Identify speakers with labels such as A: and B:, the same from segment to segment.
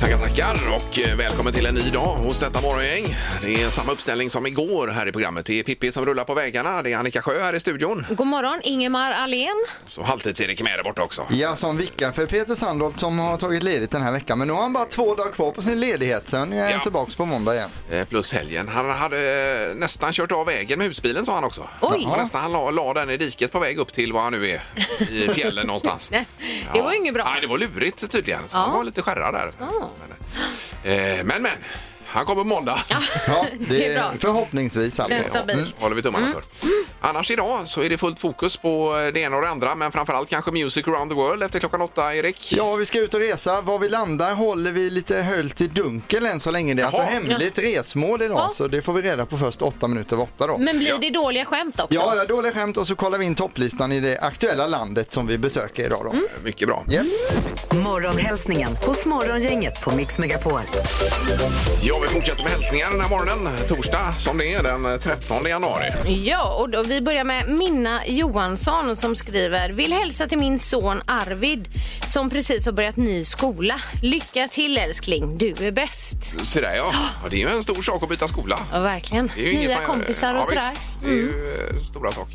A: Tackar, tackar och eh, välkommen till en ny dag hos detta morgongäng. Det är samma uppställning som igår här i programmet. Det är Pippi som rullar på vägarna, det är Annika Sjö här i studion.
B: God morgon, Ingemar Ahlén.
A: Så halvtids-Erik är med där borta också.
C: Ja, som vickar för Peter Sandholt som har tagit ledigt den här veckan. Men nu har han bara två dagar kvar på sin ledighet. Sen är han
A: Ja.
C: tillbaka på måndag igen.
A: Eh, Plus helgen. Han hade eh, nästan kört av vägen med husbilen sa han också.
B: Oj.
A: Ja, Nästan han la, la den i diket på väg upp till var han nu är i fjällen någonstans.
B: Nej, det var ju inget bra.
A: Nej, det var lurigt tydligen. Så
B: Ja.
A: han var lite skärrad där. Men, eh, men, men. Han kommer måndag.
C: Ja,
B: Det är bra.
C: Förhoppningsvis alltså.
B: Men stabilt.
A: håller vi tummarna
B: Mm.
A: för. Annars idag så är det fullt fokus på eh, det ena och det andra men framförallt kanske Music around the world efter klockan åtta, Erik.
C: Ja, vi ska ut och resa. Var vi landar håller vi lite höljt i dunkel än så länge. Det är alltså
A: Jaha.
C: hemligt resmål idag,
B: Ja.
C: så det får vi reda på först åtta minuter över åtta då.
B: Men blir
A: Ja.
B: det dåliga skämt också?
C: Ja, ja, dåliga skämt och så kollar vi in topplistan i det aktuella landet som vi besöker idag då.
B: Mm.
A: Mycket bra.
C: Ja.
D: Morgonhälsningen hos Morgongänget på Mix Megapol.
A: Ja, vi fortsätter med hälsningar den här morgonen, torsdag som det är den 13 januari.
B: Ja, och då, vi börjar med Minna Johansson som skriver Vill hälsa till min son Arvid som precis har börjat ny skola. Lycka till älskling, du är bäst.
A: Så där ja. ja, det är ju en stor sak att byta skola.
B: Ja, verkligen.
A: Det är ju inget
B: Nya
A: man-
B: kompisar och
A: ja,
B: sådär. Mm.
A: Visst, det är ju eh, stora saker.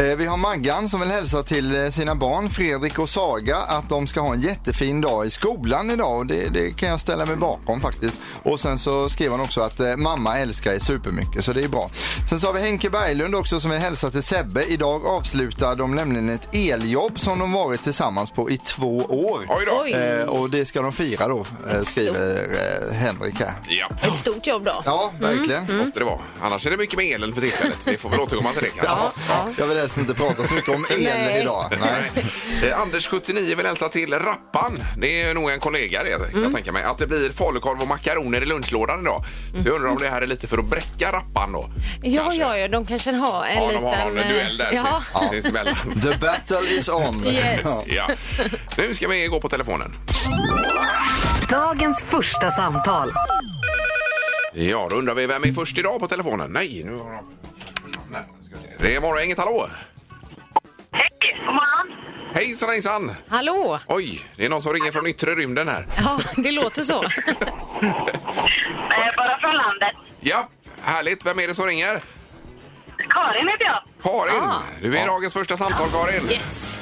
C: Eh, Vi har Maggan som vill hälsa till eh, sina barn Fredrik och Saga att de ska ha en jättefin dag i skolan idag och det, det kan jag ställa mig bakom faktiskt. Och sen så skrev han också att eh, mamma älskar er supermycket så det är bra. Sen så har vi Henke Berglund också som vill hälsa till Sebbe. Idag avslutar de nämligen ett eljobb som de varit tillsammans på i två år.
A: Oj då.
B: Oj.
C: Eh, och det ska de fira då, eh, skriver eh, Henrik här.
A: Ja,
B: Ett stort jobb då.
C: Ja, verkligen.
A: måste det vara. Annars är det mycket med elen för tillfället. Vi får väl återkomma till det kanske.
B: Ja, ja.
C: Jag vill helst inte prata så mycket om el
B: Nej.
C: idag. Nej.
A: Eh, Anders 79 vill hälsa till Rappan. Det är nog en kollega det, kan
B: Mm.
A: jag tänka mig. Att det blir falukorv och makaroner i lunchlådan idag. Så jag undrar om det här är lite för att bräcka Rappan då.
B: Ja,
A: Kanske.
B: ja, ja, de kanske har en
A: Ja,
B: liten...
A: de har någon
B: eh,
A: duell där
B: ja.
A: sin- sinsemellan.
C: The battle is on.
B: Yes.
C: Ja.
A: Ja. Nu ska vi gå på telefonen.
D: Dagens första samtal.
A: Ja, då undrar vi vem är först idag på telefonen? Nej, nu har de... Nej, ska vi se. Det är Morgongänget, hallå!
E: Hej, god morgon.
A: Hejsan hejsan!
B: Hallå!
A: Oj, det är någon som ringer från yttre rymden här.
B: Ja, det låter så.
E: Eh, bara från landet.
A: Ja, härligt. Vem är det som ringer?
E: Karin heter jag.
A: Karin!
B: Ah.
A: Du är dagens första samtal, Karin.
B: Yes!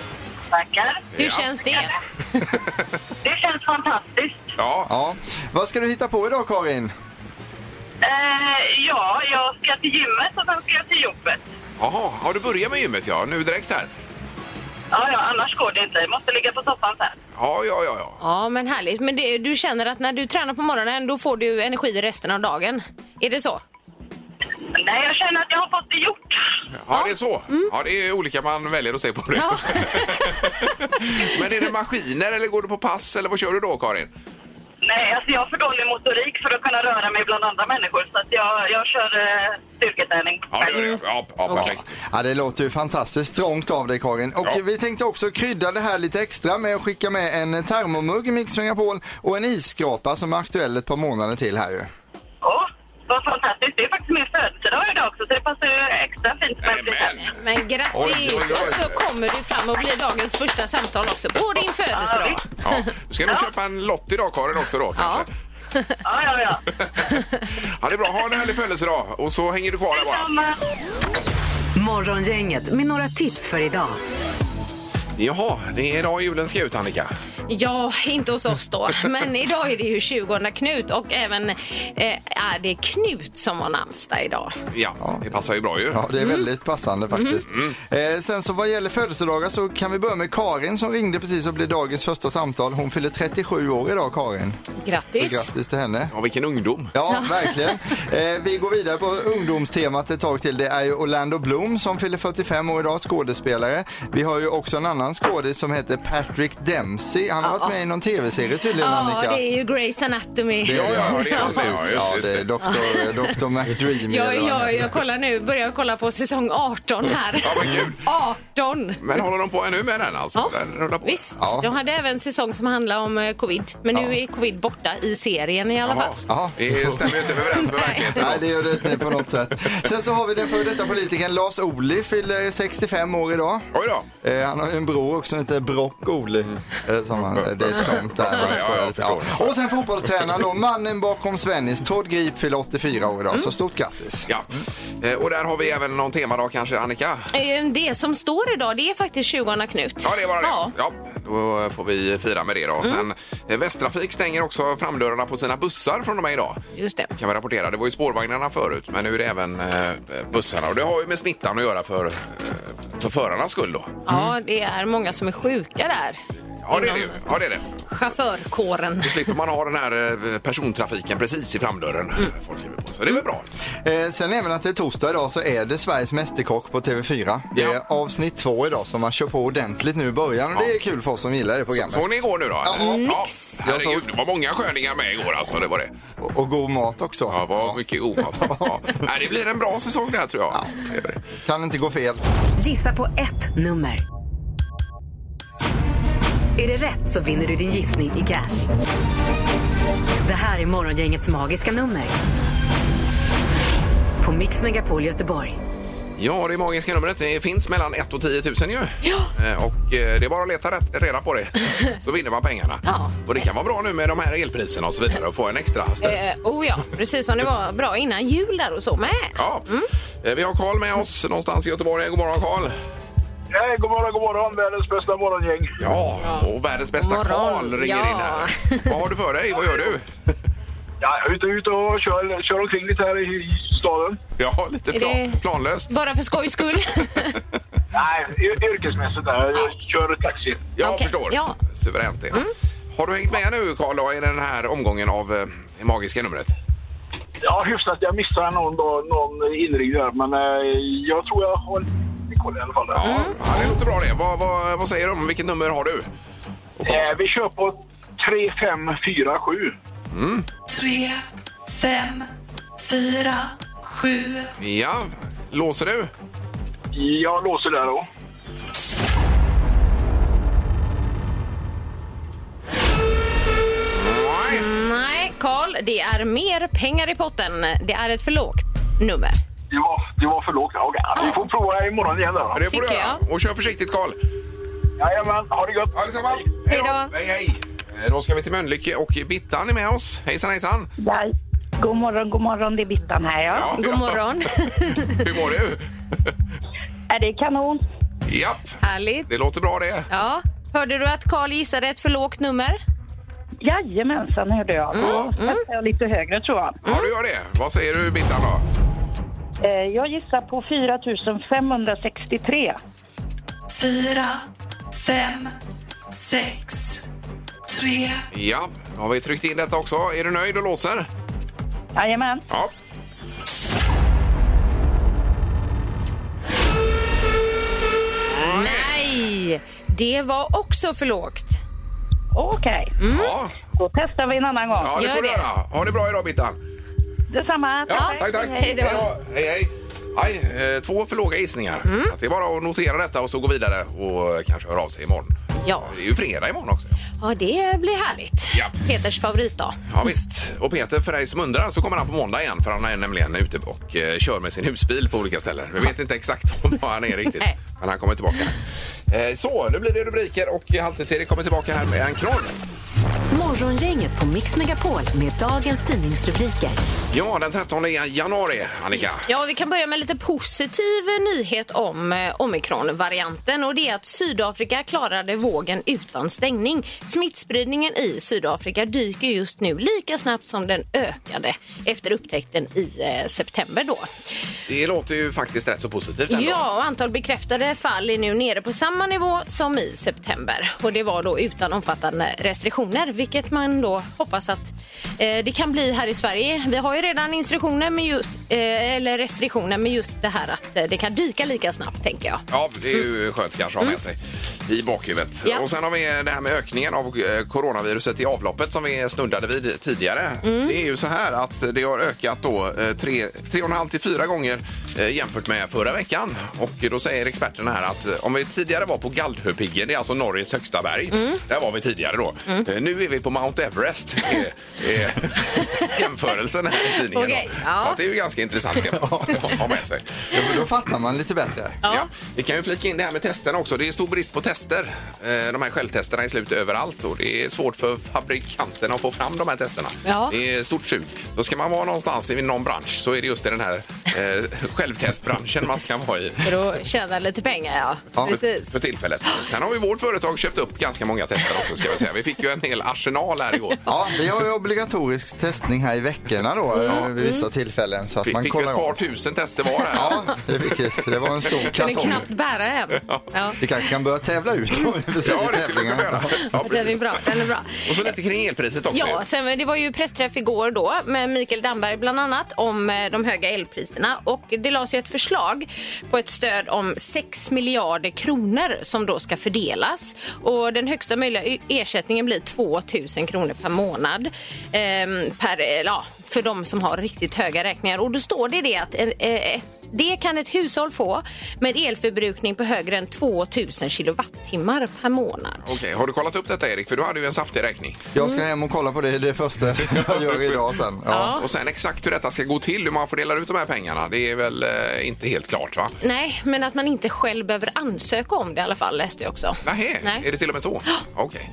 E: Tackar.
B: Hur känns det?
E: Det känns fantastiskt.
A: Ja,
C: Ja. Vad ska du hitta på idag Karin?
E: Eh, ja, jag ska till gymmet och sen ska jag till jobbet.
A: Jaha, har du börjat med gymmet ja, nu direkt här?
E: Ja, ja, annars går det inte. Jag måste ligga på soffan sen.
A: Ja, ja, ja, ja.
B: Ja, men härligt. Men det, du känner att när du tränar på morgonen då får du energi resten av dagen? Är det så?
E: Nej, jag känner att jag har fått det gjort.
A: Ja, det är så. Ja, det är olika man väljer att se på det.
B: Mm. Ja.
A: Men är det maskiner eller går du på pass eller vad kör du då Karin?
E: Nej, alltså jag har för dålig motorik för att kunna röra mig bland andra människor. Så att jag, jag kör eh, styrketräning.
A: Ja, det gör det. Ja,
B: Mm.
A: ja perfekt.
C: Ja, det låter ju fantastiskt strångt av dig Karin. Och
A: Ja.
C: vi tänkte också krydda det här lite extra med att skicka med en termomugg Mix Megapol och en isskrapa som är aktuell ett par månader till här ju.
E: Åh, vad fantastiskt. Det är faktiskt min födelsedag idag också, så det passar ju extra fint med en present.
A: Nämen!
B: Men
A: Oj, oj,
B: grattis!
A: oj.
B: Och så kommer du fram och blir dagens första samtal också på din födelsedag.
A: Ja, du ska nog köpa en lott idag Karin också då
B: Ja.
A: kanske?
E: Ja, ja, ja.
A: Ja, det är bra. Ha en härlig födelsedag och så hänger du kvar där bara.
E: Detsamma.
D: Morgongänget med några tips för idag.
A: Jaha, det är idag julen ska ut Annika.
B: Ja, inte hos oss då. Men idag är det ju 20 Knut och även eh, är det Knut som har namnsdag idag.
A: Ja, det passar ju bra ju.
C: Ja, det är väldigt passande faktiskt. Eh, sen så vad gäller födelsedagar så kan vi börja med Karin som ringde precis och blev dagens första samtal. Hon fyller 37 år idag Karin. Så
B: Grattis!
C: grattis till henne.
A: Ja, vilken ungdom.
C: Ja, verkligen. Eh, vi går vidare på ungdomstemat ett tag till. Det är ju Orlando Bloom som fyller 45 år idag, skådespelare. Vi har ju också en annan skådis som heter Patrick Dempsey. han har varit med i någon tv-serie tydligen, Annika.
B: Ja, det är ju Grace Anatomy.
C: Det är det.
A: Ja, ja, det är han med. Ja, just
C: Ja,
A: det.
C: det är Dr. Dr. McDreamy.
B: Jag,
C: eller vad han
B: jag,
C: heter.
B: jag kollar nu, börjar kolla på säsong 18 här.
A: Ja, men gud.
B: 18!
A: Men håller de på ännu med den alltså?
B: Ja,
A: Den rullar på.
B: Visst,
C: Ja.
B: de hade även en säsong som handlade om eh, covid. Men nu är covid borta i serien i alla fall.
A: Jaha.
C: Jaha.
A: Det stämmer ju inte överens med
B: Nej.
A: verkligheten.
C: Nej, det gör det inte på något sätt. Sen så har vi den före detta politikern Lars Ohly, fyller 65 år idag.
A: Oj då.
C: Eh, han har ju en bror också som heter Brock Ohly. Eh, som han, det är ett skämt där.
A: Mm. Ja,
C: Han skojar
A: ja, jag
C: lite. Ja.
A: förstår.
C: Och sen fotbollstränaren då, mannen bakom Svennis, Todd Grip fyller 84 år
A: Mm.
C: idag. Så stort grattis.
A: Ja. Eh, Och där har vi även någon temadag kanske, Annika?
B: Eh, Det som står idag det är faktiskt 20 Knut.
A: Ja, det var det. Ja.
B: Ja. Mm.
A: då får vi fira med det då. Sen, eh, Västtrafik stänger också framdörrarna på sina bussar från och med idag.
B: Just det.
A: Kan vi rapportera. Det var ju spårvagnarna förut, men nu är det även eh, bussarna. Och det har ju med smittan att göra för, eh, för förarnas skull då.
B: Ja, det är många som är sjuka där.
A: Ja, det är det ju. Ja, det är det.
B: Chaufförkåren.
A: Då slipper man ha den här eh, persontrafiken precis i framdörren.
B: Mm.
A: Folk skriver på. Så det är väl bra.
C: Eh, sen även att det är torsdag idag så är det Sveriges Mästerkock på TV4. Det är
A: Ja.
C: avsnitt två idag som man kör på ordentligt nu i början. Och det är kul för oss som gillar det programmet.
A: Såg ni igår nu då?
C: Ja.
B: Nix.
A: Ja, herregud, det var många sköningar med igår alltså. Det var det.
C: Och, och god mat också.
A: Ja, vad mycket omat. Ja. Nej, det blir en bra säsong det här tror jag. Det gör det.
C: Kan inte gå fel.
D: Gissa på ett nummer. Är det rätt så vinner du din gissning i cash. Det här är Morgongängets magiska nummer. På Mix Megapol Göteborg.
A: Ja, det magiska numret det finns mellan 1 och 10 000 ju.
B: Ja.
A: Eh, Och eh, det är bara att leta rätt, reda på det, så vinner man pengarna.
B: Ja.
A: Och det kan vara bra nu med de här elpriserna och så vidare och få en extra stöt.
B: Eh, oh ja, precis som det var bra innan jul där och så med.
A: Ja.
B: Mm.
A: Eh, Vi har Karl med oss någonstans i Göteborg. God morgon Karl!
F: Hej, god morgon, god morgon. Världens bästa morgongäng.
A: Ja, och världens bästa
B: God morgon.
A: Karl ringer
B: Ja.
A: in här. Vad har du för dig? Vad gör du?
F: Ja, jag är ute, ute och kör, kör omkring lite här i i staden.
A: Ja, lite
B: Är
A: plan,
B: det-
A: planlöst.
B: Bara för skojs skull.
F: Nej, y- yrkesmässigt där. Jag kör taxi.
A: Jag
B: Okej,
A: förstår.
B: ja. Mm.
A: Suveränt det. Har du hängt med nu Karl då, i den här omgången av eh, det magiska numret?
F: Ja, hyfsat. Jag missar någon, dag, någon inringning där, men eh, jag tror jag har lite koll i alla fall.
B: Mm.
A: Ja, ja, det låter bra det. Vad, vad, vad säger de? Vilket nummer har du?
F: Eh, vi kör på 3547.
G: tre, fem, fyra, sju.
A: Ja, låser du?
F: Jag låser där då.
A: Nej.
B: Mm, Nej, Karl, det är mer pengar i potten. Det är ett för lågt nummer.
F: Det var, det var för lågt. Okej, vi får prova imorgon igen där då.
A: Ja, Det får du
B: Tycker
A: göra. Och kör försiktigt Karl.
F: Jajamän, ha det gött.
A: Ja, detsamma.
B: Hej då.
A: Hej, hej. Eh, Då ska vi till Mölnlycke och Bittan är med oss. Hejsan, hejsan.
H: Ja. God morgon, god morgon. Det är Bittan här. Ja.
A: Ja, ja.
B: God morgon.
A: Hur mår du?
H: Är det kanon?
A: Japp,
B: Härligt.
A: det låter bra det.
B: Ja. Hörde du att Karl gissade ett för lågt nummer?
H: Jajamensan, hörde jag. Då satsar jag lite högre, tror jag.
B: Mm.
A: Ja, du gör det. Vad säger du Bittan då?
H: Eh, jag gissar på 4 563.
G: Fyra, fem, sex, tre.
A: Ja, då har vi tryckt in detta också. Är du nöjd och låser?
H: Jajamän.
A: Ja.
B: Nej, det var också för lågt.
H: Okej,
B: Mm.
A: Ja.
H: då testar vi en annan gång.
A: ja, det
B: Gör
A: får du
B: det.
A: göra. Ha det bra idag Bittan.
H: Detsamma.
A: Ja, tack, tack.
B: Hej då.
A: Hej, hej. Aj, eh, två för låga gissningar.
B: Mm.
A: Så att det är bara att notera detta och så gå vidare och eh, kanske höra av sig imorgon.
B: Ja.
A: Det är ju fredag imorgon också.
B: Ja, det blir härligt.
A: Ja.
B: Peters favoritdag.
A: Ja visst. Och Peter, för dig som undrar, så kommer han på måndag igen för han är nämligen ute och eh, kör med sin husbil på olika ställen. Vi vet inte exakt var han är riktigt,
B: Nej.
A: men han kommer tillbaka. Eh, så, nu blir det rubriker och Halvtids-Erik kommer tillbaka här med en knorr.
D: Morgongänget på Mix Megapol med dagens tidningsrubriker.
A: Ja, den 13 januari, Annika.
B: Ja, vi kan börja med lite positiv nyhet om eh, omikronvarianten och det är att Sydafrika klarade vågen utan stängning. Smittspridningen i Sydafrika dyker just nu lika snabbt som den ökade efter upptäckten i eh, september då.
A: Det låter ju faktiskt rätt så positivt ändå.
B: Ja, och antal bekräftade fall är nu nere på samma nivå som i september. Och det var då utan omfattande restriktioner, vilket vilket man då hoppas att eh, det kan bli här i Sverige. Vi har ju redan instruktioner med just, eh, eller restriktioner med just det här att eh, det kan dyka lika snabbt, tänker jag.
A: Ja, det är ju skönt kanske att ha med sig i bakhuvudet.
B: Mm. Ja.
A: Och sen har vi det här med ökningen av eh, coronaviruset i avloppet som vi snuddade vid tidigare.
B: Mm.
A: Det är ju så här att det har ökat då eh, tre, tre och en halv till fyra gånger eh, jämfört med förra veckan. Och då säger experterna här att eh, om vi tidigare var på Galdhöpiggen, det är alltså Norges högsta berg.
B: Mm.
A: Där var vi tidigare då. Eh, Nu är vi på Mount Everest. är- är Jämförelsen här i tidningen.
B: Okej,
A: då.
B: ja.
A: Så att det är ju ganska intressant det, att ha med sig.
C: Ja, men då fattar man lite bättre.
A: Ja. Vi kan ju flika in det här med testerna också. Det är stor brist på tester. Eh, De här självtesterna är slut överallt och det är svårt för fabrikanterna att få fram de här testerna.
B: Ja.
A: Det är stort sug. Då ska man vara någonstans i någon bransch så är det just i den här eh, självtestbranschen man ska vara i.
B: För att tjäna lite pengar, ja.
C: Ja, men-
B: Precis.
A: För tillfället. Sen har ju vårt företag köpt upp ganska många tester också ska vi säga. Vi fick ju en hel arsenal här igår.
C: Ja, vi har ju obligatorisk testning här i veckorna då eh, vid vissa tillfällen så att
A: Vi
C: man
A: fick ju ett
C: kollar
A: par
C: av.
A: tusen tester var här.
C: Ja, det, fick, ju- det var en stor
B: Kunde
C: kartong.
B: knappt bära hem. Ja.
C: Vi kanske kan börja tävla ut dem i
A: Ja, det skulle vi kunna göra. Ja,
B: Den är
A: precis.
B: bra. Den är bra.
A: Och så lite kring elpriset också.
B: Ja, sen, det var ju pressträff igår då med Mikael Damberg bland annat om eh, de höga elpriserna och det lades ju ett förslag på ett stöd om 6 miljarder kronor som då ska fördelas och den högsta möjliga e- ersättningen blir 2 000 kronor per månad ehm, per, eh, ja, för de som har riktigt höga räkningar och då står det det att eh, eh, det kan ett hushåll få med elförbrukning på högre än 2 000 kilowattimmar per månad.
A: Okej, har du kollat upp detta Erik? För du hade ju en saftig räkning.
C: Jag ska hem och kolla på det, det är det första jag gör idag sen. Ja.
A: Och sen exakt hur detta ska gå till, hur man fördelar ut de här pengarna, det är väl eh, inte helt klart va?
B: Nej, men att man inte själv behöver ansöka om det i alla fall läste jag också.
A: Nähä,
B: Nej.
A: är det till och med så? Okej.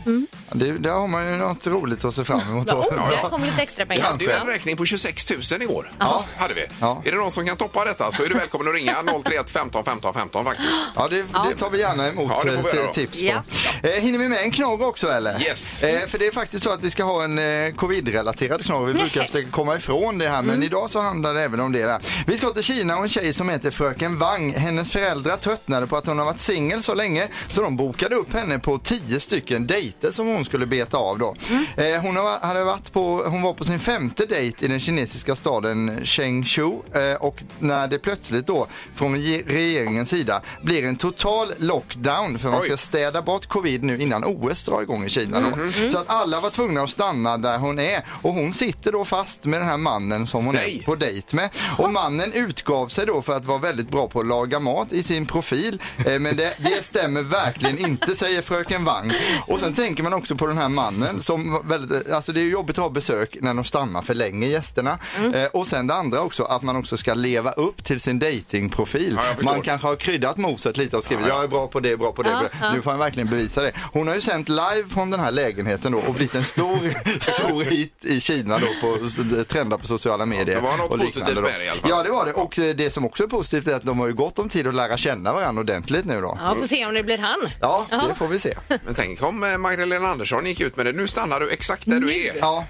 C: Det, där har man ju något roligt att se fram emot.
B: Va,
C: Då.
B: oh, där kom lite extra
A: Vi
B: pengar.
A: hade ju en räkning på 26 000 igår. Ja. Hade vi.
C: Ja.
A: Är det någon som kan toppa detta så är du välkommen att ringa 031 15 15 15 faktiskt.
C: Ja, det, det tar vi gärna emot
A: Ja, det får vi
C: eh,
A: göra då.
C: tips på.
B: Ja.
C: Eh, hinner vi med en knorr också eller?
A: Yes.
C: Eh, för det är faktiskt så att vi ska ha en eh, covid-relaterad knorr. Vi brukar försöka komma ifrån det här men idag så handlar det även om det där. Vi ska till Kina och en tjej som heter Fröken Wang. Hennes föräldrar tröttnade på att hon har varit singel så länge så de bokade upp henne på tio stycken dejter som hon skulle beta av då. Eh, hon, har, hade varit på, hon var på sin femte dejt i den kinesiska staden Chengdu eh, och när det plötsligt då från ge- regeringens sida blir en total lockdown för man
A: Oj.
C: ska
A: Mhm.
C: städa bort covid nu innan OS drar igång i Kina. Då.
A: Mm.
C: Så att alla var tvungna att stanna där hon är och hon sitter då fast med den här mannen som hon
A: Nej.
C: är på dejt med. Och mannen utgav sig då för att vara väldigt bra på att laga mat i sin profil. Eh, Men det, det stämmer verkligen inte säger fröken Wang. Och sen tänker man också på den här mannen som var väldigt, alltså det är ju jobbigt att ha besök när de stannar för länge gästerna.
A: Mm.
C: Eh, Och sen det andra också att man också ska leva upp till sin datingprofil.
A: Ja, jag förstår.
C: man kanske har kryddat moset lite och skrivit jag är bra på det, bra på det. bra. Nu får han verkligen bevisa det. Hon har ju sänt live från den här lägenheten då och blivit en stor, stor hit i Kina då på trendar på sociala medier.
A: det var något
C: och
A: positivt
C: liknande då.
A: med det i alla fall.
C: Ja, det var det. Och eh, det som också är positivt är att de har ju gott om tid att lära känna varandra ordentligt nu då.
B: Ja, får se om det blir han.
C: Ja, det får vi se.
A: Men tänk om eh, Magdalena Andersson gick ut med det. Nu stannar du exakt där du är.
C: Ja,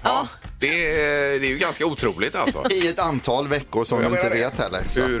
A: Det, är- eh, det är ju ganska otroligt alltså.
C: i ett antal veckor som vi
A: Jag
C: inte
A: menar det.
C: vet heller. Så
A: Hur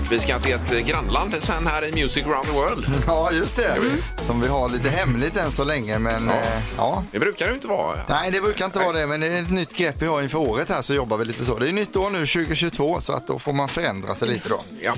A: Vi ska till ett eh, grannland sen här i Music Round the World.
C: ja, just det. Som vi har lite hemligt än så länge, men
A: Mm. Ja.
C: ja. Eh, ja.
A: Det brukar det ju inte vara.
C: Nej, det brukar inte vara det, men det är ett nytt grepp vi har inför året här så jobbar vi lite så. Det är nytt år nu, 2022, så att då får man förändra sig lite då.
A: Ja.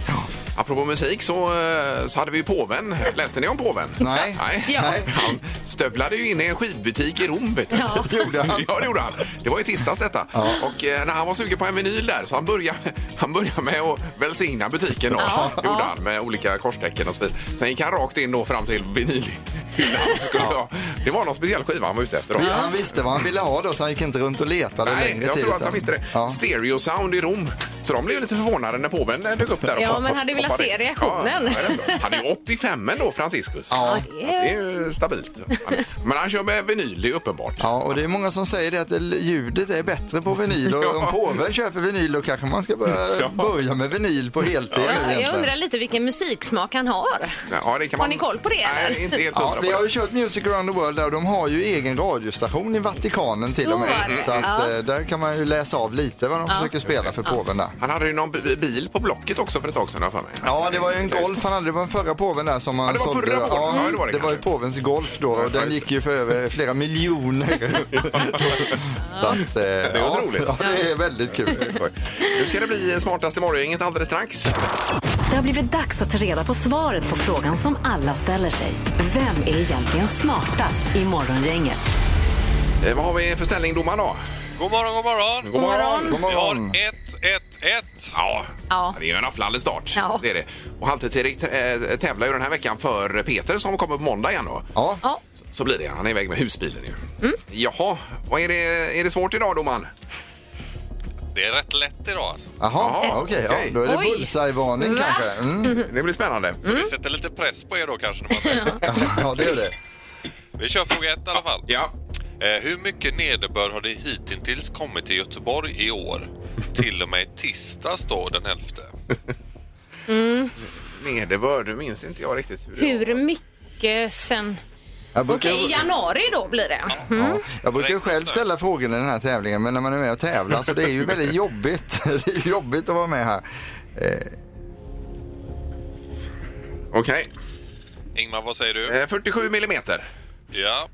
A: Apropå musik så, eh, så hade vi ju påven. Läste ni om påven?
C: Nej.
A: Nej.
B: Ja.
A: Nej. Han stövlade ju in i en skivbutik i Rom. Vet du.
B: Ja.
A: Gjorde han? Ja, det gjorde han. Det var i tisdags detta. Och eh, när han var sugen på en vinyl där så han började, han började med att välsigna butiken då.
B: Ja.
A: Gjorde han med olika korstecken och så vidare. Sen gick han rakt in då fram till vinylhyllan. Skulle ha. Det var någon speciell skiva han var ute efter. Då.
C: Han visste vad han ville ha då, så han gick inte runt och letade
A: Nej,
C: längre
A: jag
C: tid,
A: tror att
C: utan-
A: han visste det.
C: Ja.
A: Stereo sound i Rom. Så de blev lite förvånade när påven eh, dök upp där. Och
B: Ja,
A: pop-
B: men hade velat
A: poppade
B: se
A: in.
B: reaktionen.
A: Ja, det är bra. han är ju 85 ändå, Franciscus.
C: Ja.
A: det är ju stabilt. Men han kör med vinyl, det är uppenbart.
C: Ja, och det är många som säger det att det- ljudet är bättre på vinyl och
A: Ja.
C: om påven köper vinyl då kanske man ska börja,
A: Ja.
C: börja med vinyl på heltid. egentligen.
B: jag undrar lite vilken musiksmak han har.
A: Ja, det kan
B: Har
A: man...
B: ni koll på det, eller?
A: Nej, inte helt
C: Ja,
A: hundra
C: vi
A: på
C: har
A: det.
C: ju kört Music around the world där och de har ju egen radiostation i Vatikanen till
B: Så
C: och
B: var
C: med.
B: det.
C: Så att,
B: Ja.
C: eh, där kan man ju läsa av lite vad de försöker spela för påven där.
A: Han hade ju någon bi- bil på Blocket också för ett tag sedan har jag för mig.
C: Ja, det var ju en golf han hade. Det var en förra påven där som han
A: det var
C: sålde.
A: förra påven.
C: Ja,
A: Ja, det var det
C: det var ju
A: kanske.
C: påvens golf då och
A: just
C: den
A: det.
C: gick ju för över flera miljoner. Så att, det
A: är otroligt.
C: Ja, det är väldigt kul.
A: Skoj. Nu ska det bli smartast i morgongänget alldeles strax.
D: Det har blivit dags att ta reda på svaret på frågan som alla ställer sig. Vem är egentligen smartast i morgongänget?
A: Eh, vad har vi för ställning domaren då?
I: God morgon, god morgon.
A: God
C: God
I: Vi har
C: morgon.
I: 1-1-1.
A: Ja,
B: Ja.
A: det är ju en afflande start.
B: Ja.
A: Det är det. Och Halvtids-Erik eh, tävlar ju den här veckan för Peter som kommer på måndag igen då.
C: Ja,
B: Ja.
A: Så blir det. Han är iväg med husbilen ju.
C: Mm.
A: Jaha, vad är det, är det svårt idag domaren?
I: Det är rätt lätt idag alltså.
C: jaha,
A: Ett.
C: okej.
A: Okej.
C: Ja, då är det
B: Oj.
C: bullseye-varning
B: Va?
C: kanske. Mm.
A: Det blir spännande.
I: Vi sätter lite press på er då kanske. När man säger så.
C: Ja, det är det.
I: Vi kör fråga ett i alla fall.
A: Ja.
I: Eh, hur mycket nederbörd har det hittills kommit till Göteborg i år? Till och med tisdags då, den 11.
A: Nederbörd, nu minns inte jag riktigt hur det var.
B: Hur mycket sen?
C: Jag brukar-
B: Okej, januari då blir det. Mm.
C: Ja. Jag brukar ju själv ställa frågorna i den här tävlingen men när man är med och tävlar så det är ju väldigt jobbigt. Det är ju jobbigt att vara med här.
A: Okej.
I: Ingmar, vad säger du?
A: Eh, 47 millimeter.
I: Ja.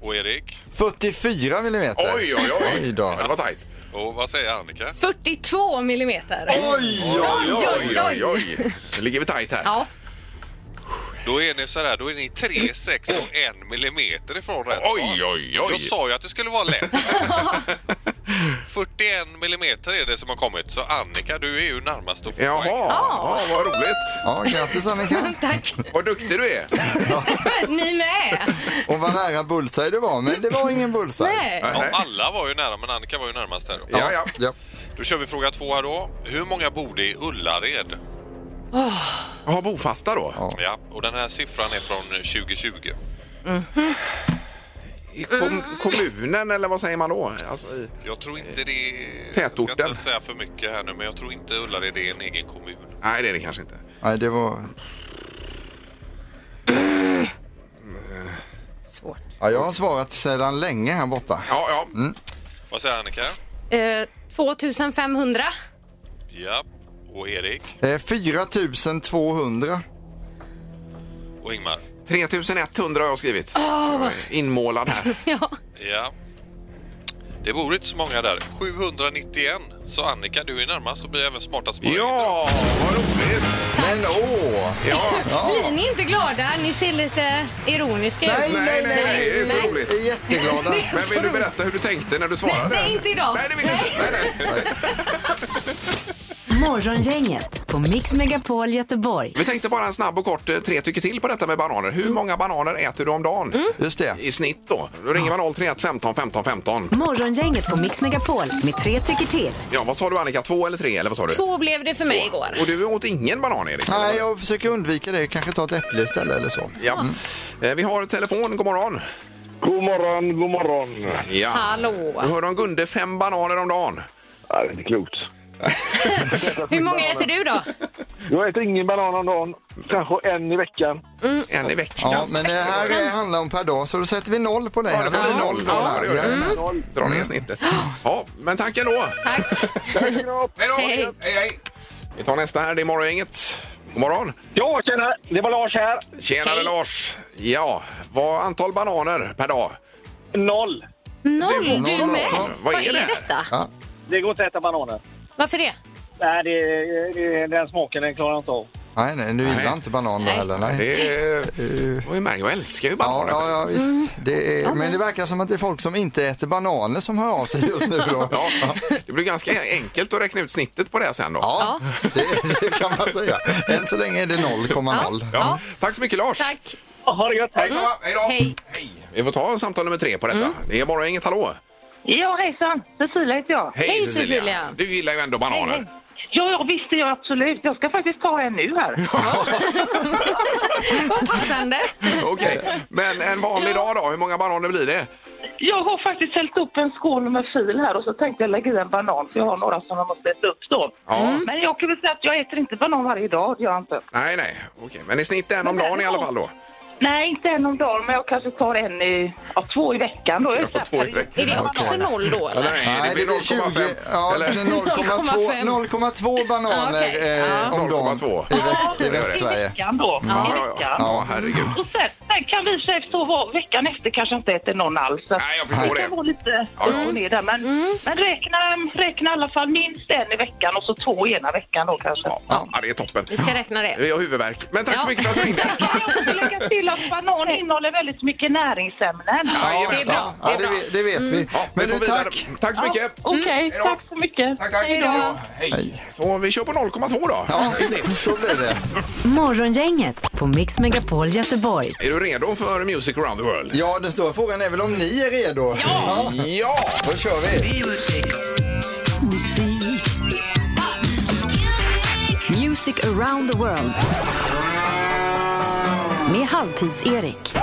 I: Och Erik?
C: 44 millimeter.
A: Oj, oj, oj.
C: Oj då.
A: Ja, det var tajt.
I: Och vad säger Annika?
B: 42 millimeter.
C: Oj, oj, oj.
B: Oj, oj,
A: oj. Nu ligger vi tajt här.
B: Ja,
I: Då är ni så här, då är ni 3, 6 och 1 millimeter ifrån rätt
A: Oj, oj,
I: Jag
A: oj.
I: sa ju att det skulle vara lätt. 41 millimeter är det som har kommit, så Annika, du är ju närmast att få
A: Jaha,
I: poäng.
A: ja, vad roligt.
C: Ja, grattis Annika.
B: tack.
A: Vad duktig du är.
B: Ni med.
C: Och vad nära bullseye det var, men det var ingen bullseye.
B: Nej.
I: Ja, alla var ju nära, men Annika var ju närmast här. Då.
A: Ja, ja.
C: Ja.
I: Då kör vi fråga två här då. Hur många bor det i Ullared?
A: Jaha, bofasta då?
C: Ja.
I: Ja, och den här siffran är från 2020.
A: I kom kommunen eller vad säger man då? Alltså, i...
I: Jag tror inte det är...
A: Tätorten.
I: Jag ska inte säga för mycket här nu, men jag tror inte Ullared är en egen kommun.
A: Nej, det är det kanske inte.
C: Nej, det var...
B: Svårt.
C: Ja, jag har svarat sedan länge här borta.
A: Ja, ja.
I: Vad säger Annika?
B: Eh, 2500.
I: Ja. Och Erik?
C: Eh, 4200.
I: Och Ingmar?
A: 3100 har jag skrivit.
B: Ah.
A: Jag är Inmålad här.
B: Ja.
I: Ja. Det bor inte så många där. 791. Så Annika, du är närmast och blir även smartast. på morgonen.
A: Ja, vad roligt!
C: Men åh!
A: Ja,
B: Blir ni inte glada? Ni ser lite ironiska
C: Nej,
B: ut.
C: nej, nej,
A: nej, det är så
C: nej.
A: roligt.
C: Vi är jätteglada.
A: men vill du berätta hur du tänkte när du svarade?
B: Nej, inte idag.
A: Nej, det vill jag inte. Nej, nej.
D: Morgongänget på Mix Megapol Göteborg.
A: Vi tänkte bara en snabb och kort eh, tre tycker till på detta med bananer. Hur
B: Mm.
A: många bananer äter du om dagen?
C: Just det.
A: I snitt då. Då ringer man 031 15 15 15.
D: Morgongänget på Mix Megapol med tre tycker till.
A: Ja, vad sa du Annika? Två eller tre? Eller vad sa du?
B: Två blev det för mig igår.
A: Och du åt ingen banan, Erik?
C: Nej, jag försöker undvika det. Kanske ta ett äpple istället eller så.
A: Ja. Eh, Vi har telefon. God morgon.
F: God morgon, god morgon.
A: Ja.
B: Hallå.
A: Du hörde om Gunde, fem bananer om dagen.
F: Ja, det är inte klokt.
B: Hur många äter du då?
F: Jag äter ingen banan om dagen, kanske en i veckan.
A: En i veckan.
C: Ja, men det här eh, handlar om per dag så då sätter vi noll på det.
A: Ja, det
C: här.
A: blir noll då. Ja, Mm. det gör det.
F: Noll.
A: Dra ner snittet. Ja, men tack ändå.
B: Tack.
A: Hej då!
B: Hej.
A: Hej, hej. Vi tar nästa här. Det är Morgongänget. God morgon.
F: Ja, tjena! Det var Lars här.
A: Tjenare Lars. Ja, vad antal bananer per dag?
F: Noll.
B: Noll, du
C: noll
B: med.
C: alltså.
A: Eh, Vad är det?
B: detta?
C: Ja.
F: Det går inte att äta bananer.
B: Varför det?
F: Nej, det, det, den smaken den klarar jag inte av.
C: Nej, nej, du gillar inte banan då heller. Nej.
A: Det är... Oj, men Jag älskar ju
C: Ja,
A: bananer.
C: ja, ja visst. Det är, men det verkar som att det är folk som inte äter bananer som hör av sig just nu då.
A: Ja, det blir ganska enkelt att räkna ut snittet på det här sen då.
C: Ja, det, det kan man säga. Än så länge är det 0,0.
A: Ja. Tack så mycket Lars!
B: Tack. Mm.
F: Ha det gött! Hej!
A: Detsamma. Hej då!
B: Hej. Mm.
A: Vi får ta samtal nummer tre på detta. Det är bara inget hallå!
J: Ja, hejsan. Cecilia heter jag.
A: Hej,
B: Hej, Cecilia.
A: Du gillar ju ändå bananer.
J: Ja, ja, visst det gör jag absolut. Jag ska faktiskt ta en nu här.
B: Vad passande.
A: Okej, men en vanlig dag då? Hur många bananer blir det?
J: Jag har faktiskt hällt upp en skål med fil här och så tänkte jag lägga i en banan för jag har några som jag måste äta upp då.
A: Ja.
F: Mm.
B: Mm.
J: Men jag kan väl säga att jag äter inte banan varje dag, det gör jag inte.
A: Nej, nej. Okej, men i snitt en om dagen i alla fall då?
J: Nej, inte en om dagen, men jag kanske tar en i, ja, två i veckan då. Jag
A: Ja, två i
B: Är
A: veckan.
B: det också noll då
A: Ja,
B: eller?
A: nej, det blir 0,5.
C: ja,
A: eller?
C: det är 0,2 0,2 bananer
B: Ja, okej.
C: eh,
B: Ja.
C: om dagen
A: 0,2.
C: i,
J: Ja,
C: vä- i
A: det är det.
C: Västsverige.
J: veckan då.
A: Ja,
J: I
A: ja,
J: veckan.
A: ja. ja, herregud.
J: Och sen, sen kan vi i och för sig så vara, veckan efter kanske inte äter någon alls. Så att
A: Nej, jag förstår
J: det
A: det.
J: kan vara lite
A: Ja, ja.
J: upp och ner där. Men, men räkna, räkna i alla fall minst en i veckan och så två ena veckan då kanske.
A: Ja, ja, det är toppen.
B: Vi ska räkna det.
A: Vi har huvudvärk. Men tack så
B: Ja.
A: mycket för att du ringde.
J: Kan jag också lägga till att banan innehåller väldigt mycket näringsämnen.
A: Ja,
B: det är
A: jajamensan.
B: bra. Mm.
C: Ja, det, vet- det vet vi.
A: Ja, vi
C: Men
A: får
C: du,
A: vidare.
C: tack.
A: Tack så mycket.
J: Okej,
A: Hej då.
J: tack så mycket.
A: Tack, tack.
B: Hej då.
A: Ja, Hej. Så vi kör på 0,2 då.
C: Ja,
A: I snitt.
C: så blir det.
D: Morgongänget på Mix Megapol Göteborg.
A: Är du redo för Music around the world?
C: Ja, den stora frågan är väl om ni är redo? Ja!
A: Ja!
C: Då kör vi.
D: Music around the world. Med Halvtids-Erik.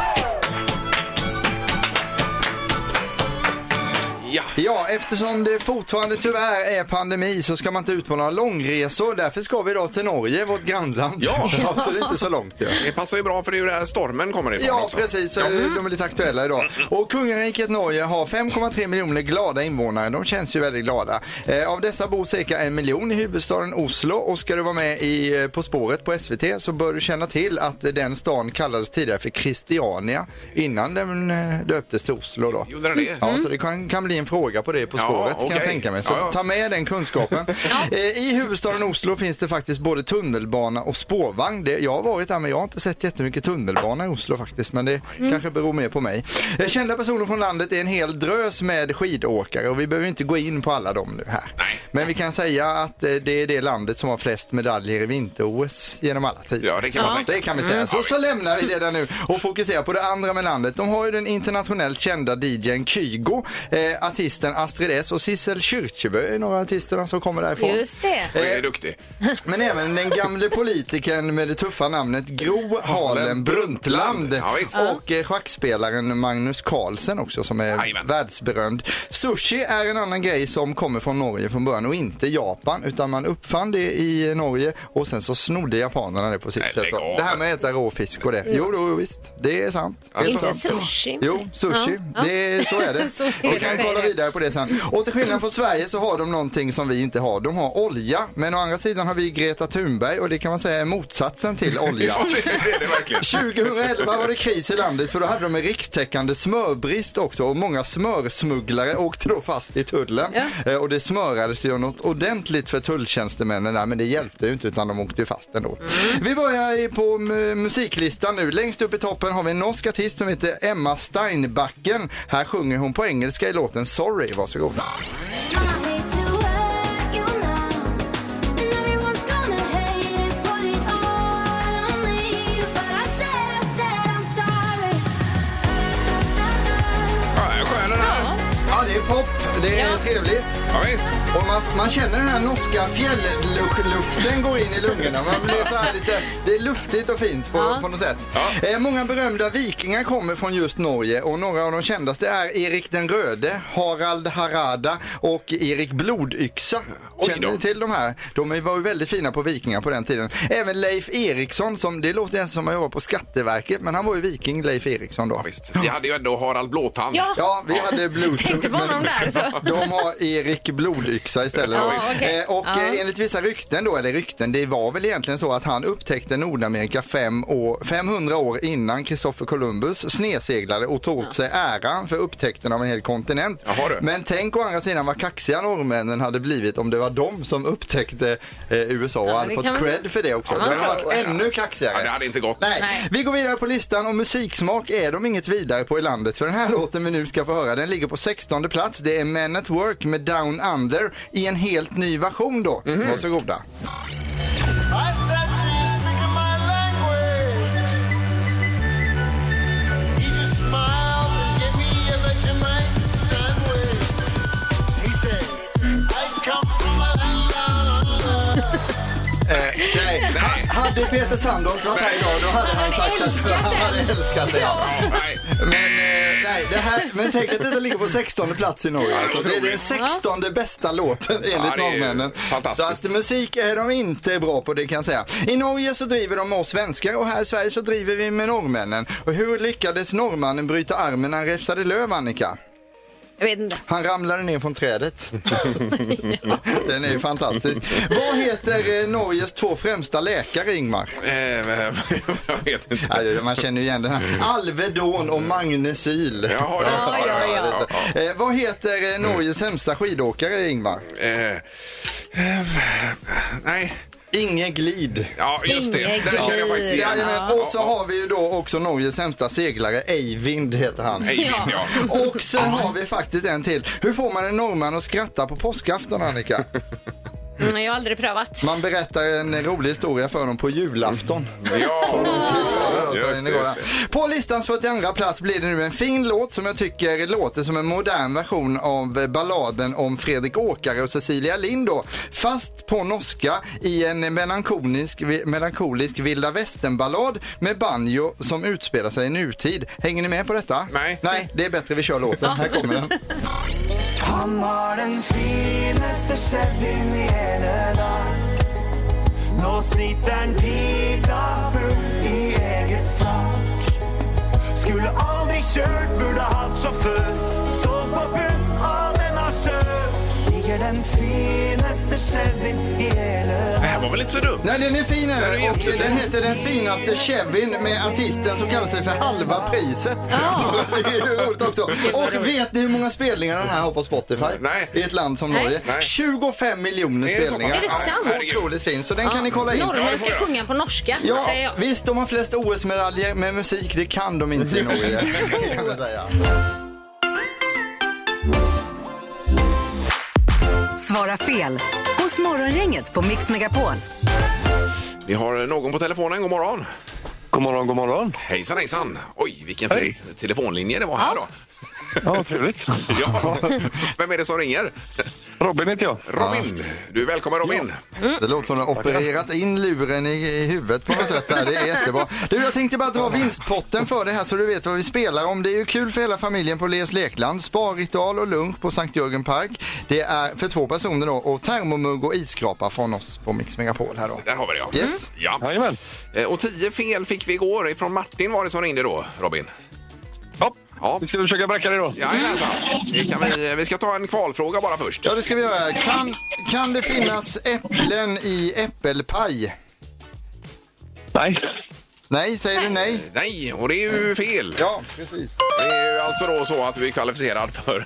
A: Ja.
C: Ja, eftersom det fortfarande tyvärr är pandemi så ska man inte ut på några långresor. Därför ska vi idag till Norge, vårt grannland.
A: Ja.
C: så det är inte så långt ju.
A: Det passar ju bra för det är ju där stormen kommer ifrån
C: Ja,
A: också.
C: precis. Så De är lite aktuella idag. Och kungariket Norge har 5,3 miljoner glada invånare. De känns ju väldigt glada. Eh, av dessa bor cirka en miljon i huvudstaden Oslo. Och ska du vara med i eh, På spåret på SVT så bör du känna till att eh, den stan kallades tidigare för Christiania innan den eh, döptes till Oslo. Då.
A: Gjorde den det?
C: Ja, så det kan, kan bli en fråga på det På
A: Mm. Ja,
C: spåret kan jag
A: okej.
C: tänka mig. Så
A: Ja, ja.
C: ta med den kunskapen. Eh, I huvudstaden Oslo finns det faktiskt både tunnelbana och spårvagn. Det, jag har varit där men jag har inte sett jättemycket tunnelbana i Oslo faktiskt. Men det kanske beror mer på mig. Eh, Kända personer från landet är en hel drös med skidåkare och vi behöver inte gå in på alla dem nu här. Men vi kan säga att eh, det är det landet som har flest medaljer i vinter-OS genom alla tider.
A: Ja, det kan man tänka.
C: Det kan vi säga. Så, så lämnar vi det där nu och fokuserar på det andra med landet. De har ju den internationellt kända DJn Kygo, eh, artisten Astrid S och Sissel Kyrkjebø är några av artisterna som kommer därifrån.
B: Just det.
A: Oj, det är duktig.
C: Men även den gamle politikern med det tuffa namnet Gro Harlem Brundtland
A: Ja, visst.
C: och eh, schackspelaren Magnus Carlsen också som är
A: Jajamän.
C: världsberömd. Sushi är en annan grej som kommer från Norge från början och inte Japan utan man uppfann det i Norge och sen så snodde japanerna det på sitt
A: Nej,
C: sätt.
A: lägg
C: då.
A: av.
C: Det här med att äta rå fisk och det. Jo, då, visst, det är sant. Det är
A: Inte
C: sant.
B: sushi.
C: Jo, sushi.
B: Ja.
C: Det, så är det.
B: Så är
C: Vi
B: det.
C: kan kolla vidare på det sen. Och till skillnad från Sverige så har de någonting som vi inte har. De har olja, men å andra sidan har vi Greta Thunberg och det kan man säga är motsatsen till olja.
A: Ja, det är det verkligen.
C: 2011 var det kris i landet för då hade de en rikstäckande smörbrist också och många smörsmugglare åkte då fast i tullen. Eh, Och det smörades ju något ordentligt för tulltjänstemännen där men det hjälpte ju inte utan de åkte ju fast ändå. Vi börjar i- på mu- musiklistan nu. Längst upp i toppen har vi en norsk artist som heter Emma Steinbacken. Här sjunger hon på engelska i låten Sorry. Varsågoda.
A: Ja, skön den här.
C: Ja, det är pop. Det är
B: Ja.
C: trevligt.
A: Ja, visst.
C: Och man, man känner den här norska fjällluften går in i lungorna. Man blir så här lite, det är luftigt och fint på, på något sätt.
A: Ja.
C: Eh, många berömda vikingar kommer från just Norge och några av de kändaste är Erik den röde, Harald Harada och Erik Blodyxa.
A: Oj då.
C: Känner ni till de här? De var ju väldigt fina på vikingar på den tiden. Även Leif Eriksson, som, det låter nästan som att han jobbar på Skatteverket, men han var ju viking, Leif Eriksson då.
A: Ja, visst. Vi hade ju ändå Harald Blåtand.
B: Ja,
C: Ja, vi hade Bluetooth.
B: tänkte på honom där. Så.
C: De har Erik Blodyxa istället. då.
B: Ja, okej.
C: Eh, Och
B: Ja.
C: eh, enligt vissa rykten då, eller rykten, det var väl egentligen så att han upptäckte Nordamerika fem år, 500 år innan Kristoffer Columbus sneseglade och tog åt sig äran för upptäckten av en hel kontinent.
A: Jaha, du.
C: Men tänk å andra sidan vad kaxiga norrmännen hade blivit om det var de som upptäckte eh, USA och
B: Ja,
C: hade
B: det
C: fått
B: kan man-
C: cred för det också.
B: Ja,
C: det
B: man
C: hade
B: tror
C: varit ännu kaxigare.
A: Ja, det hade inte gått.
C: Nej.
B: Nej.
C: Vi går vidare på listan och musiksmak är de inget vidare på i landet. För den här låten vi nu ska få höra den ligger på 16 plats. Det är Men at Work med Down Under i en helt ny version då. Varsågoda.
A: Nej.
C: Han, hade Peter Sandholt varit här idag då hade han sagt att han hade älskat det.
A: Nej.
C: Men, eh, nej, det här, men tänk att detta ligger på 16 plats i Norge. Alltså, för det är den 16 bästa låten enligt
A: Ja, det är ju
C: norrmännen. Så
A: fantastiskt.
C: att musik är de inte bra på, det kan jag säga. I Norge så driver de med oss svenskar och här i Sverige så driver vi med norrmännen. Och hur lyckades norrmannen bryta armen när han räfsade löv, Annika?
B: Jag vet inte.
C: Han ramlade ner från trädet. Den är ju fantastisk. Vad heter eh, Norges två främsta läkare, Ingmar?
A: Eh, jag vet inte.
C: Nej, det- Man känner ju igen den här.
A: Mm.
C: Alvedon och Magne Syl.
A: Jaha, det-
B: Ja, ja, ja.
C: lite. Eh, vad heter eh, Norges sämsta skidåkare, Ingmar?
A: Eh, eh, nej.
C: Inge Glid.
A: Ja, just det.
B: Inge
A: Den känner jag faktiskt igen.
C: Jajamän, och så har vi ju då också Norges sämsta seglare, Eivind heter han.
A: Hej, Linn, ja.
C: Och sen har vi faktiskt en till. Hur får man en norrman att skratta på påskafton, Annika?
B: Mm, jag har aldrig prövat.
C: Man berättar en rolig historia för dem på julafton.
A: Ja, just det, alltså. just det.
C: På listans 42 plats blir det nu en fin låt som jag tycker låter som en modern version av balladen om Fredrik Åkare och Cecilia Lind då. Fast på norska i en melankolisk, melankolisk vilda västern-ballad med banjo som utspelar sig i nutid. Hänger ni med på detta?
A: Nej.
C: Nej, det är bättre vi kör låten. Här kommer den.
G: Han har den fineste Chevyen i hele dag. Nå sitter han drita full i eget flak. Skulle aldri kjørt, burde hatt sjåfør. Så på bunn av denne sjø ligger den fineste Chevyen i hele
A: Det här var väl inte så dumt?
C: Nej, den är fin
A: Den är
C: här. och
A: jättefin.
C: den heter Den finaste Chevyn med artisten som kallar sig för Halva priset. Det är ju roligt också. Och vet ni hur många spelningar den här har på Spotify?
A: Nej.
C: I ett land som
B: Nej.
C: Norge.
A: Nej.
C: 25 miljoner
A: Är det så
C: spelningar.
A: pass?
B: Är det
C: Ja,
B: sant?
A: herregud.
C: Otroligt fin, så den kan ni kolla in.
B: Norrmän ska sjunga på norska,
C: Ja,
B: säger jag.
C: visst de har flest OS-medaljer, men musik det kan de inte i Norge. kan man säga.
D: Svara fel hos Morgongänget på Mix Megapol.
A: Vi har någon på telefonen. God morgon.
F: God morgon, god morgon.
A: Hejsan, hejsan. Oj, vilken
F: Hej.
A: fin telefonlinje det var här då.
F: Ja, trevligt.
A: Ja. Vem är det som ringer?
F: Robin heter jag.
A: Robin. Du är välkommen Robin.
C: Det låter som de har opererat in luren i, i huvudet på något sätt. Där. Det är jättebra. Du, jag tänkte bara dra vinstpotten för det här så du vet vad vi spelar om. Det är ju kul för hela familjen på Leos Lekland. Sparritual och lunch på Sankt Jörgen Park. Det är för två personer då och termomugg och isskrapa från oss på Mix Megapol här då.
A: Där har vi det ja.
C: Yes.
A: ja.
F: Jajamän.
A: Eh, Och tio fel fick vi igår. Ifrån Martin var det som ringde då, Robin.
F: Ja,
A: Ja.
F: vi ska försöka bräcka det då.
A: Jajamensan. Det kan vi, vi ska ta en kvalfråga bara först.
C: Ja, det ska vi göra. Kan, kan det finnas äpplen i äppelpaj?
F: Nej.
C: Nej, säger du nej?
A: Nej, och det är ju fel.
C: Ja, precis.
A: Det är ju alltså då så att du är kvalificerad för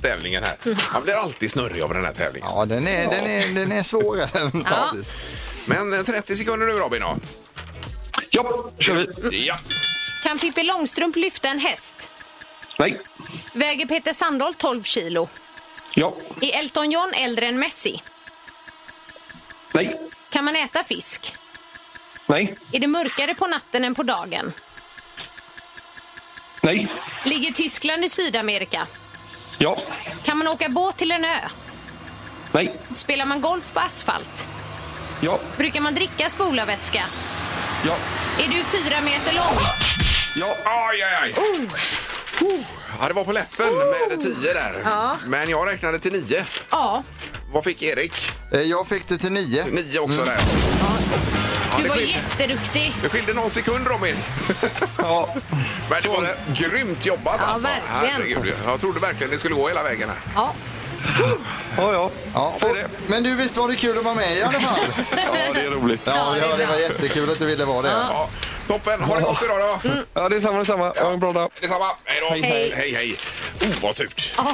A: tävlingen här. Man blir alltid snurrig av den här tävlingen.
C: Ja, den är, den är, den är svårare än faktiskt.
A: Men eh, 30 sekunder nu Robin då.
F: Ja, kör vi.
A: Ja.
B: Kan Pippi Långstrump lyfta en häst?
F: Nej.
B: Väger Peter Sandholt 12 kilo?
F: Ja.
B: Är Elton John äldre än Messi?
F: Nej.
B: Kan man äta fisk?
F: Nej.
B: Är det mörkare på natten än på dagen?
F: Nej.
B: Ligger Tyskland i Sydamerika?
F: Ja.
B: Kan man åka båt till en ö?
F: Nej.
B: Spelar man golf på asfalt?
F: Ja.
B: Brukar man dricka spolarvätska?
F: Ja.
B: Är du fyra meter lång?
F: Ja.
A: Aj, aj, aj. Oh. Ja, det var på läppen med 10 där.
B: Ja.
A: Men jag räknade till 9.
B: Ja.
A: Vad fick Erik?
C: Eh, Jag fick det till nio.
A: 9 också där. Ja,
B: Du
A: det,
B: var
A: skilde,
B: jätteduktig.
A: det skilde någon sekund Robin.
F: ja.
A: Men det var grymt jobbat
B: Ja,
A: alltså.
B: verkligen.
A: Herregud, jag trodde verkligen det skulle gå hela vägen här.
B: Ja.
F: Ja, ja.
C: Ja,
F: Det är
C: och,
F: det.
C: men du, visst var det kul att vara med i alla fall?
F: ja, det är roligt.
C: Ja,
B: det är
C: ja, det
B: bra.
C: var jättekul att du ville vara det.
A: Ja, toppen, ha det gott idag då.
F: Ja, det är samma, det är samma. Ha en bra dag.
A: Detsamma, hej då.
F: Hej,
B: hej.
A: hej. hej. Oh, vad surt.
C: Ja,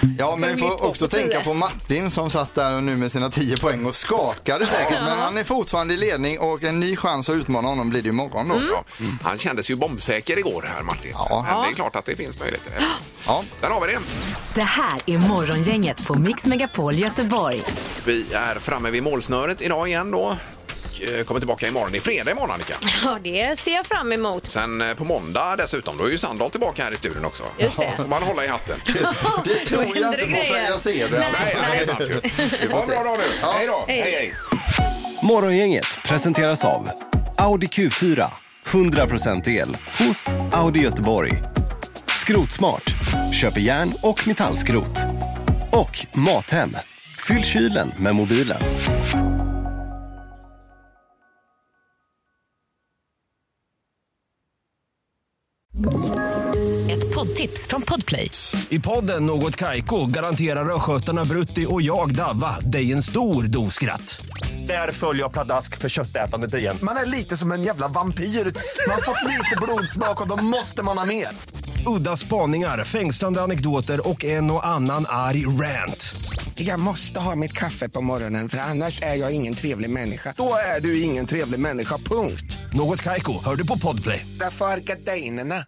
C: men vi
B: Men vi
C: får
B: är
C: också
B: två på
C: tänka
B: tio.
C: på Martin som satt där och nu med sina 10 poäng och skakade säkert. Men han är fortfarande i ledning och en ny chans att utmana honom blir det imorgon då.
B: Mm.
A: Ja. Han kändes ju bombsäker igår här Martin.
C: Ja.
A: Men det är klart att det finns möjligheter.
C: Ja.
A: Där har vi det.
D: Det här är Morgongänget på Mix Megapol Göteborg.
A: Vi är framme vid målsnöret idag igen då. Eh, Kommer tillbaka imorgon. Det är fredag imorgon Annika.
B: ja, det ser jag fram emot.
A: Sen eh, på måndag dessutom, då är ju Sandahl tillbaka här i studion också.
B: Just det.
A: Får man hålla i hatten.
C: Det tror
B: Då
C: jag
B: händer
C: inte
B: det
C: på förrän
B: grejer.
C: jag ser det.
B: Nej.
C: Alltså.
A: Nej, det är sant ju. Ha en bra dag nu. Hej då.
B: Hej.
A: hej.
I: Morgongänget presenteras av Audi Q4. 100% el hos Audi Göteborg. Skrotsmart. Köper järn och metallskrot. Och Mathem. Fyll kylen med mobilen.
D: Ett poddtips från Podplay.
G: I podden Något Kaiko garanterar östgötarna Brutti och jag, Davva, dig en stor dos skratt. Där följer jag pladask för köttätandet igen.
K: Man är lite som en jävla vampyr. Man har fått lite blodsmak och då måste man ha mer.
G: Udda spaningar, fängslande anekdoter och en och annan arg rant.
L: Jag måste ha mitt kaffe på morgonen för annars är jag ingen trevlig människa.
K: Då är du ingen trevlig människa, punkt.
G: Något Kaiko, hör du på Podplay.
L: Därför arkadeinerna.